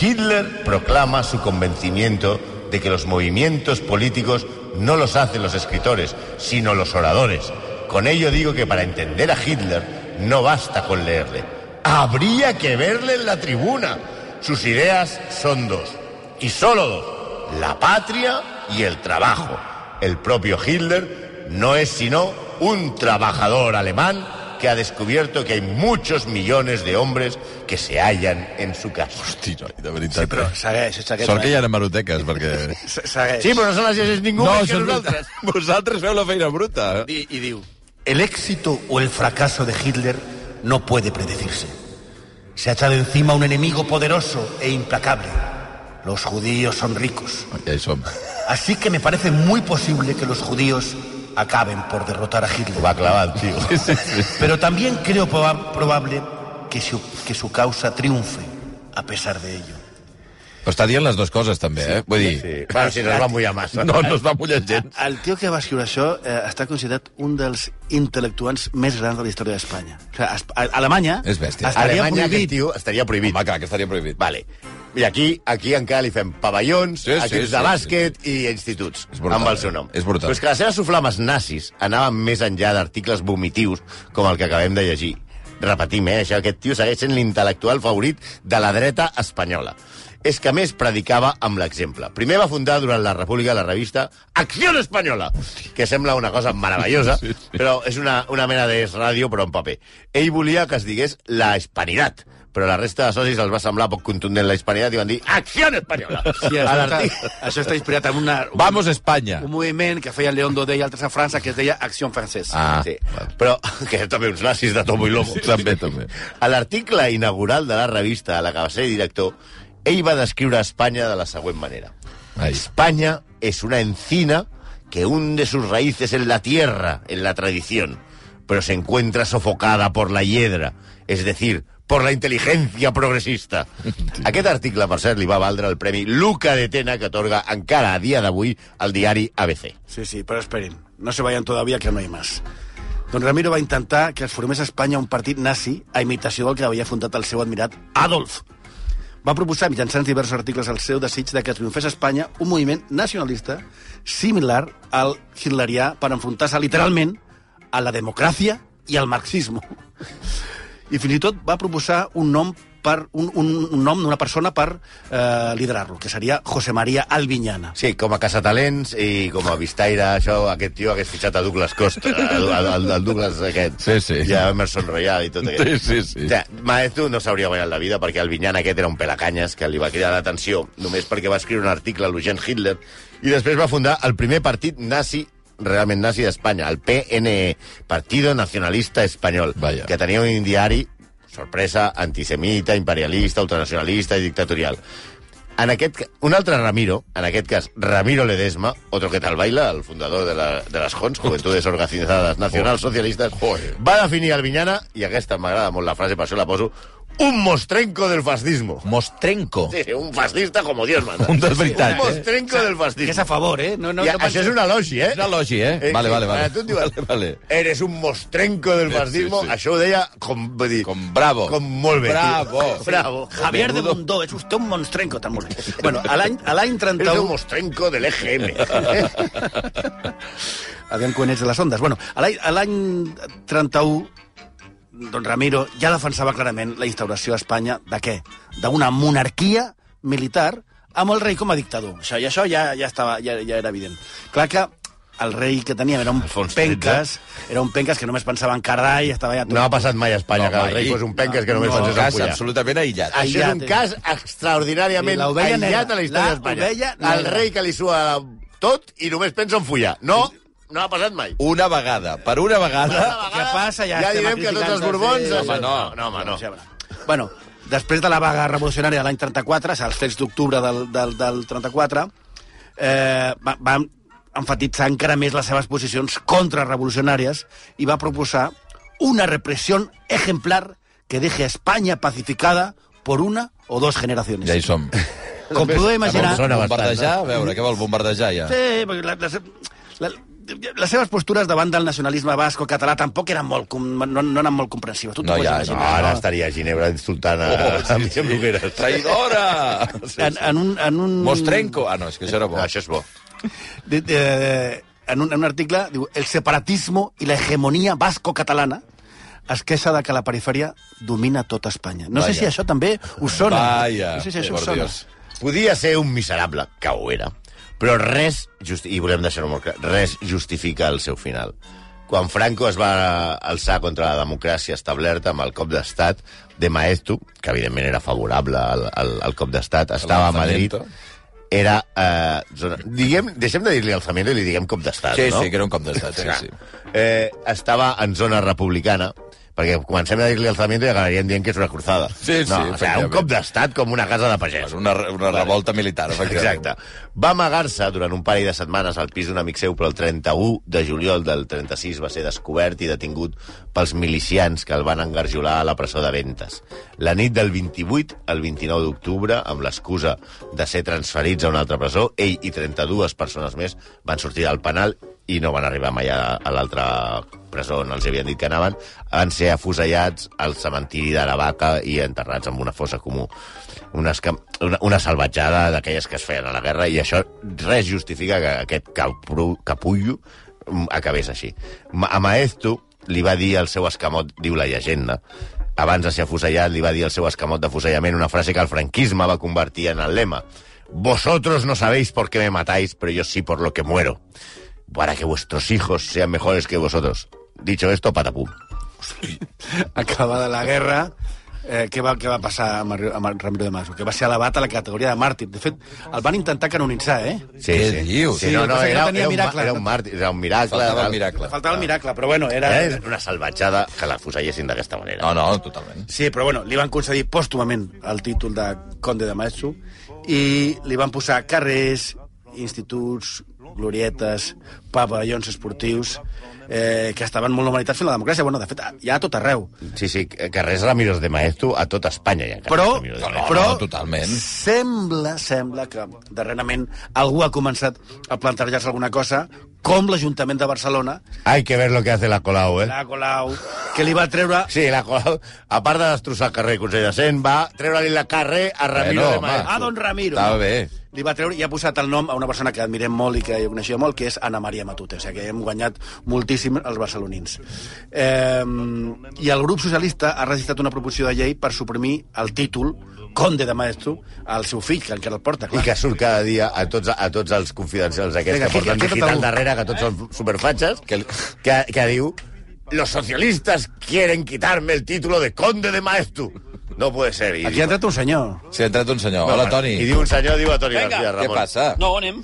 Speaker 3: Hitler proclama su convencimiento de que los movimientos políticos no los hacen los escritores, sino los oradores. Con ello digo que para entender a Hitler no basta con leerle. Habría que verle en la tribuna. Sus ideas son dos, y solo dos, la patria y el trabajo. El propio Hitler no es sino un trabajador alemán que ha descubierto que hay muchos millones de hombres que se hallan en su casa.
Speaker 2: Hosti, noi, de veritat. Sí, però...
Speaker 4: Segueix, segueix. eh?
Speaker 2: Sort que hi ha hemeroteques, perquè...
Speaker 3: (laughs)
Speaker 4: Se- Segueix.
Speaker 3: Sí, pero no son las llegis ninguna que
Speaker 2: és
Speaker 3: nosaltres.
Speaker 2: veritat. (laughs) Vosaltres feu la feina bruta.
Speaker 4: I, I diu...
Speaker 7: El éxito o el fracaso de Hitler no puede predecirse. Se ha echado encima un enemigo poderoso e implacable. Los judíos son ricos.
Speaker 2: Ja hi som.
Speaker 7: Así que me parece muy posible que los judíos acaben por derrotar a Hitler.
Speaker 3: Va clavat, tio.
Speaker 7: Pero también creo proba- probable que su, que su causa triunfe a pesar de ello.
Speaker 2: Però està dient les dues coses, també, eh? Vull dir...
Speaker 3: Sí. Bueno, si nos va mullar massa.
Speaker 2: (laughs) No, no es va mullant gens.
Speaker 4: El tio que va escriure això eh, està considerat un dels intel·lectuals més grans de la història d'Espanya. O sigui, es- a- Alemanya...
Speaker 2: És bèstia.
Speaker 4: Estaria
Speaker 3: Alemanya,
Speaker 4: prohibit.
Speaker 3: aquest tio, estaria prohibit.
Speaker 2: Home, clar, que estaria prohibit.
Speaker 3: Vale. I aquí, aquí encara li fem pavellons,
Speaker 2: Sí,
Speaker 3: sí,
Speaker 2: sí,
Speaker 3: equips
Speaker 2: sí,
Speaker 3: de
Speaker 2: sí,
Speaker 3: bàsquet sí, i instituts,
Speaker 2: És brutal,
Speaker 3: amb el seu nom.
Speaker 2: eh? És brutal.
Speaker 3: Però és que les seves soflames nazis anaven més enllà d'articles vomitius com el que acabem de llegir. Repetim, eh? Això, aquest tio segueix sent l'intel·lectual favorit de la dreta espanyola. És que, a més, predicava amb l'exemple. Primer va fundar, durant la República, la revista Acció Espanyola, que sembla una cosa meravellosa,
Speaker 2: (laughs) Sí, sí.
Speaker 3: però és una, una mena de ràdio, però en paper. Ell volia que es digués la hispanitat, però la resta de socis els va semblar poc contundent la hispanitat i van dir Acció Espanyola!
Speaker 4: Sí,
Speaker 3: A
Speaker 4: això,
Speaker 3: l'artic-
Speaker 4: està, això està inspirat en una, un,
Speaker 2: Vamos, Espanya.
Speaker 4: un moviment que feia León Dodé i altres a França que es deia Acció Francesa.
Speaker 2: Ah,
Speaker 3: Sí. Però, (laughs) que també uns nazis de tomo i lomo.
Speaker 2: Sí, també, també.
Speaker 3: A l'article inaugural de la revista, a la que va ser director, ell va descriure Espanya de la següent manera.
Speaker 2: Ai.
Speaker 3: España es una encina que hunde sus raíces en la tierra, en la tradición, pero se encuentra sofocada por la hiedra, es decir, por la inteligencia progressista. Aquest article, per cert, li va valdre el Premi Luca de Tena, que atorga encara a dia d'avui el diari ABC.
Speaker 4: Sí, sí, pero esperen, no se vayan todavía que no hay más. Don Ramiro va intentar que es formés a Espanya un partit nazi a imitació del que havia fundat el seu admirat Adolf. Va proposar mitjançant diversos articles el seu desig de que triomfés a Espanya un moviment nacionalista similar al hitlerià per enfrontar-se literalment a la democràcia i al marxisme. I fins i tot va proposar un nom per un, un, un nom d'una persona per eh, liderar-lo, que seria José María Albiñana.
Speaker 3: Sí, com a caçatalents i com a vistaire, això, aquest tio hagués fitxat a Douglas Costa, al, al, al Douglas aquest,
Speaker 2: Sí, sí.
Speaker 3: i a Emerson Royal i tot aquest.
Speaker 2: Sí, sí, sí.
Speaker 3: O sigui, Maestu no s'hauria guanyat la vida perquè el Vinyan aquest era un pelacanyes que li va cridar l'atenció només perquè va escriure un article elogiant Hitler i després va fundar el primer partit nazi realment nazi d'Espanya, el PNE, Partido Nacionalista Espanyol,
Speaker 2: Vaya.
Speaker 3: que tenia un diari, sorpresa, antisemita, imperialista, ultranacionalista i dictatorial. En aquest, ca- un altre Ramiro, en aquest cas Ramiro Ledesma, otro que tal baila, el fundador de, la, de les JONS, Juventudes Organitzades Nacionals Socialistes, va definir el Vinyana, i aquesta m'agrada molt la frase, per això la poso, un mostrenco del fascismo.
Speaker 8: Mostrenco.
Speaker 3: Sí, sí, un fascista com Dios manda.
Speaker 8: Un de veritat,
Speaker 3: Un
Speaker 8: eh?
Speaker 3: mostrenco del
Speaker 4: Que és
Speaker 3: fascismo.
Speaker 4: a favor, eh? No, no,
Speaker 3: I
Speaker 4: no
Speaker 3: això és un elogi, eh?
Speaker 8: És elogi, eh?
Speaker 3: Eh,
Speaker 8: Vale,
Speaker 3: sí,
Speaker 8: vale, vale.
Speaker 3: ara tu et diuen,
Speaker 8: Vale, vale.
Speaker 3: Eres un mostrenco del fascismo.
Speaker 2: Sí, sí.
Speaker 3: Això ho deia com... Vull dir,
Speaker 2: Com bravo.
Speaker 3: Com molt bé.
Speaker 2: Bravo.
Speaker 3: Bravo.
Speaker 4: Javier de Bundó, és vostè un monstrenco, tan
Speaker 3: (laughs)
Speaker 4: molt. Bueno, a l'any a l'any
Speaker 3: Eres un
Speaker 4: 31...
Speaker 3: mostrenco del E EGM.
Speaker 4: Aviam quan ets de les ondes. Bueno, a l'any- a l'any 31, don Ramiro ja defensava clarament la instauració a Espanya de què? D'una monarquia militar amb el rei com a dictador. Això, I això ja, ja, estava, ja, ja era evident. Clar que el rei que teníem era un
Speaker 3: Alfons
Speaker 4: penques, era un penques que només pensava en carai, estava ja tot...
Speaker 3: No ha passat mai a Espanya
Speaker 2: No,
Speaker 3: que el
Speaker 2: mai.
Speaker 3: rei fos un penques que només
Speaker 4: No,
Speaker 3: no,
Speaker 2: Un
Speaker 3: pensés en
Speaker 2: cas
Speaker 3: follar.
Speaker 2: absolutament aïllat.
Speaker 4: Ai,
Speaker 3: Això és un
Speaker 4: Aïllat,
Speaker 3: cas
Speaker 4: Sí,
Speaker 3: extraordinàriament
Speaker 4: l'ovella
Speaker 3: aïllat
Speaker 4: negra.
Speaker 3: a la història
Speaker 4: La
Speaker 3: d'Espanya.
Speaker 4: ovella negra.
Speaker 3: El rei que li sua tot i només pensa en follar. No, no ha passat mai.
Speaker 2: Una vegada, per una vegada...
Speaker 4: Què passa? Ja,
Speaker 3: ja
Speaker 4: estem
Speaker 3: direm que
Speaker 4: criticant
Speaker 3: tots els borbons...
Speaker 4: sí,
Speaker 2: Home,
Speaker 3: això-
Speaker 2: no.
Speaker 3: no, home, no.
Speaker 4: Sembra. Bueno, després de la vaga revolucionària de l'any 34, als fets d'octubre del, del, del 34, eh, va, va enfatitzar encara més les seves posicions contrarrevolucionàries i va proposar una repressió exemplar que deje a España pacificada por una o dos generaciones.
Speaker 8: Ja hi som.
Speaker 4: Com podeu imaginar...
Speaker 3: Sona bastant,
Speaker 8: bombardejar,
Speaker 2: eh?
Speaker 8: a veure, què vol bombardejar ja?
Speaker 4: Sí, perquè la, les, la, les seves postures davant del nacionalisme basco català tampoc eren molt, com- no, no eren molt comprensives. Tu t'ho
Speaker 8: No,
Speaker 4: pots
Speaker 8: ja,
Speaker 3: No,
Speaker 4: imaginar,
Speaker 3: ara estaria a Ginebra insultant a, oh, sí, a Miquel Brugueras.
Speaker 2: Traïdora! Sí,
Speaker 4: En,
Speaker 2: sí.
Speaker 4: en un... En un
Speaker 2: Mostrenco. Ah, no, és que això era bo.
Speaker 3: No, això és bo.
Speaker 4: de- de- en, un, en un article diu El separatismo i la hegemonia vasco-catalana es queixa de que la perifèria domina tota Espanya. No sé
Speaker 2: Vaja.
Speaker 4: si això també us sona.
Speaker 2: Vaja,
Speaker 4: no sé si això us
Speaker 2: por
Speaker 4: sona.
Speaker 2: Dios.
Speaker 3: Podia ser un miserable, que ho era, però res, justi i volem deixar-ho molt clar, res justifica el seu final. Quan Franco es va alçar contra la democràcia establerta amb el cop d'estat de Maestu, que evidentment era favorable al, al, al cop d'estat, estava a Madrid,
Speaker 2: lanzamiento.
Speaker 3: era... Eh, zona... Diguem, deixem de dir-li alzamiento i li diguem cop d'estat,
Speaker 2: Sí,
Speaker 3: no?
Speaker 2: sí, que era un cop d'estat, sí, sí.
Speaker 3: Eh, estava en zona republicana, perquè comencem a dir-li alzamiento i acabaríem dient que és una cruzada.
Speaker 2: Sí, sí,
Speaker 3: no, o sigui, un
Speaker 2: efectivament.
Speaker 3: cop d'estat com una casa de pagès.
Speaker 2: És una, re- una revolta militar, efectivament.
Speaker 3: Exacte. Va amagar-se durant un parell de setmanes al pis d'un amic seu, però el 31 de juliol del 36 va ser descobert i detingut pels milicians que el van engarjolar a la presó de Ventes. La nit del 28 al 29 d'octubre, amb l'excusa de ser transferits a una altra presó, ell i 32 persones més van sortir del penal i no van arribar mai a, a l'altra presó on els havien dit que anaven, van ser afusellats al cementiri de la vaca i enterrats en una fossa comú. Una, esca- una, una salvatjada d'aquelles que es feien a la guerra i això res justifica que aquest capru, capullo mm, acabés així. Ma- A Maestu li va dir al seu escamot, diu la llegenda, abans de ser afusellat, li va dir al seu escamot d'afusellament una frase que el franquisme va convertir en el lema. Vosotros no sabéis por qué me matáis, pero yo sí por lo que muero para que vuestros hijos sean mejores que vosotros. Dicho esto, patapum.
Speaker 4: (laughs) Acabada la guerra, eh, què, va, què va passar amb, Mar- amb el Ramiro de Maso? Que va ser elevat a la categoria de màrtir. De fet, el van intentar canonitzar, eh?
Speaker 3: Sí,
Speaker 2: Què dius?
Speaker 3: Sí, no,
Speaker 4: Sí, el que
Speaker 3: no,
Speaker 4: passa és que
Speaker 3: era,
Speaker 4: no tenia
Speaker 3: era, un,
Speaker 4: miracle.
Speaker 3: miracle, era un màrtir, era un miracle.
Speaker 2: Faltava
Speaker 3: tal.
Speaker 2: el miracle.
Speaker 4: Faltava el miracle, però bueno, era...
Speaker 3: Era una salvatjada que la fusellessin d'aquesta manera.
Speaker 2: No, no, totalment.
Speaker 4: Sí, però bueno, li van concedir pòstumament el títol de Conde de Maestu i li van posar carrers, instituts, glorietes, pavellons esportius, eh, que estaven molt normalitats fent la democràcia. Bueno, de fet, ja a tot arreu.
Speaker 3: Sí, sí, carrers Ramiros de Maestro a tota Espanya. Hi ha carrers
Speaker 4: Però,
Speaker 3: Ramiro de
Speaker 2: No, no,
Speaker 3: Maeztu.
Speaker 4: però
Speaker 2: no, totalment.
Speaker 4: sembla, sembla que darrerament algú ha començat a plantejar-se alguna cosa com l'Ajuntament de Barcelona,
Speaker 3: Hay que ver lo que hace la Colau, eh?
Speaker 4: la Colau, que li va treure
Speaker 3: Sí, la Colau, a part de destrossar el carrer Consell de Cent, va treure-li la carrer a Ramiro
Speaker 2: Bueno,
Speaker 3: de Maestro.
Speaker 4: a Don Ramiro.
Speaker 2: Estava bé.
Speaker 4: Li va treure i ha posat el nom a una persona que admirem molt i que jo coneixia molt, que és Anna Maria Matute. O sigui que hem guanyat moltíssim els barcelonins. Eh, I el grup socialista ha registrat una proposició de llei per suprimir el títol Conde de Maestro al seu fill, que encara el porta,
Speaker 3: I
Speaker 4: clar.
Speaker 3: que surt cada dia a tots, a tots els confidencials aquests
Speaker 4: Vinga,
Speaker 3: Venga, que
Speaker 4: aquí-
Speaker 3: porten
Speaker 4: aquí
Speaker 3: digital
Speaker 4: tot algú.
Speaker 3: darrere, que tots són superfatxes, que, que, que diu los socialistas quieren quitarme el título de conde de maestro. No puede ser. I,
Speaker 4: Aquí ha entrat un senyor.
Speaker 2: S'hi ha entrat un senyor. Hola, Toni.
Speaker 3: I diu un senyor, diu a Toni García
Speaker 2: Què
Speaker 3: Ramon.
Speaker 2: passa?
Speaker 9: No, anem.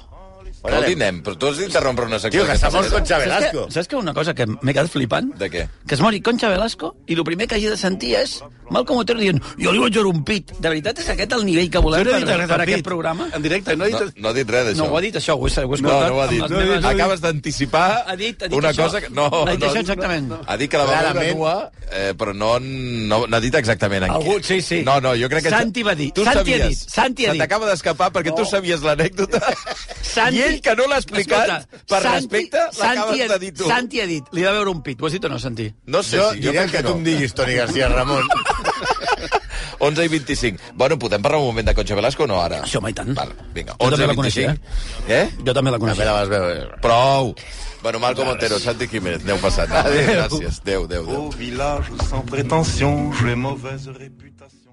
Speaker 2: Però dinem, però tu has d'interrompre una secció.
Speaker 3: Tio, que s'ha mort Concha
Speaker 9: Saps que,
Speaker 3: Velasco.
Speaker 9: saps que una cosa que m'he quedat flipant?
Speaker 2: De què?
Speaker 9: Que es mori Concha Velasco i el primer que hagi de sentir és Malcom Otero dient jo li vaig veure un pit. De veritat és aquest el nivell que volem
Speaker 4: No he
Speaker 9: per,
Speaker 4: dit
Speaker 9: per,
Speaker 4: res del
Speaker 9: aquest
Speaker 4: pit.
Speaker 9: programa?
Speaker 4: En directe, no he dit...
Speaker 2: No, no ha dit res d'això.
Speaker 9: No ho ha dit això, ho he, ho he
Speaker 2: No,
Speaker 9: escoltat.
Speaker 2: no ho ha
Speaker 9: amb
Speaker 2: dit.
Speaker 9: les meves-
Speaker 2: Acabes d'anticipar
Speaker 9: Ha dit- ha dit
Speaker 2: una
Speaker 9: això.
Speaker 2: cosa que... No,
Speaker 9: Ha dit
Speaker 2: no, Ah.
Speaker 9: això exactament.
Speaker 2: Ha dit que la va veure
Speaker 3: Clarament.
Speaker 2: nua, eh, però no, no, no ha dit exactament en
Speaker 9: Algú-
Speaker 2: què.
Speaker 9: sí, sí.
Speaker 2: No, no, jo crec que...
Speaker 9: Santi va dir, Santi ha dit, Santi ha
Speaker 2: Se
Speaker 9: dit.
Speaker 2: t'acaba d'escapar perquè tu sabies l'anècdota.
Speaker 9: Santi-
Speaker 2: I ell, que no l'ha explicat,
Speaker 9: Escolta,
Speaker 2: per
Speaker 9: Santi-
Speaker 2: respecte,
Speaker 9: Santi ha-
Speaker 2: l'acabes de dir tu.
Speaker 9: Santi ha dit, li va veure un pit. Ho has dit o no, Santi?
Speaker 2: No sé,
Speaker 3: Jo
Speaker 2: sí, jo
Speaker 3: diré
Speaker 2: crec
Speaker 3: que tu
Speaker 2: no.
Speaker 3: em diguis, Toni García Ramon.
Speaker 2: 11 i 25. Bueno, podem parlar un moment de Concha Velasco o no, ara?
Speaker 9: Sí, home, i tant.
Speaker 2: Val, vinga,
Speaker 9: Mm. Jo
Speaker 2: 11
Speaker 9: també
Speaker 2: i
Speaker 9: la
Speaker 2: 25.
Speaker 9: coneixia.
Speaker 2: Eh?
Speaker 9: Jo també la
Speaker 3: També
Speaker 9: coneixia.
Speaker 3: la vas veure.
Speaker 2: Prou. Bueno, Malcom Otero, Santi Jiménez, aneu passant. Adéu. Gràcies. Adéu, adéu, adéu.
Speaker 1: Au village sans prétention, j'ai mauvaise réputation.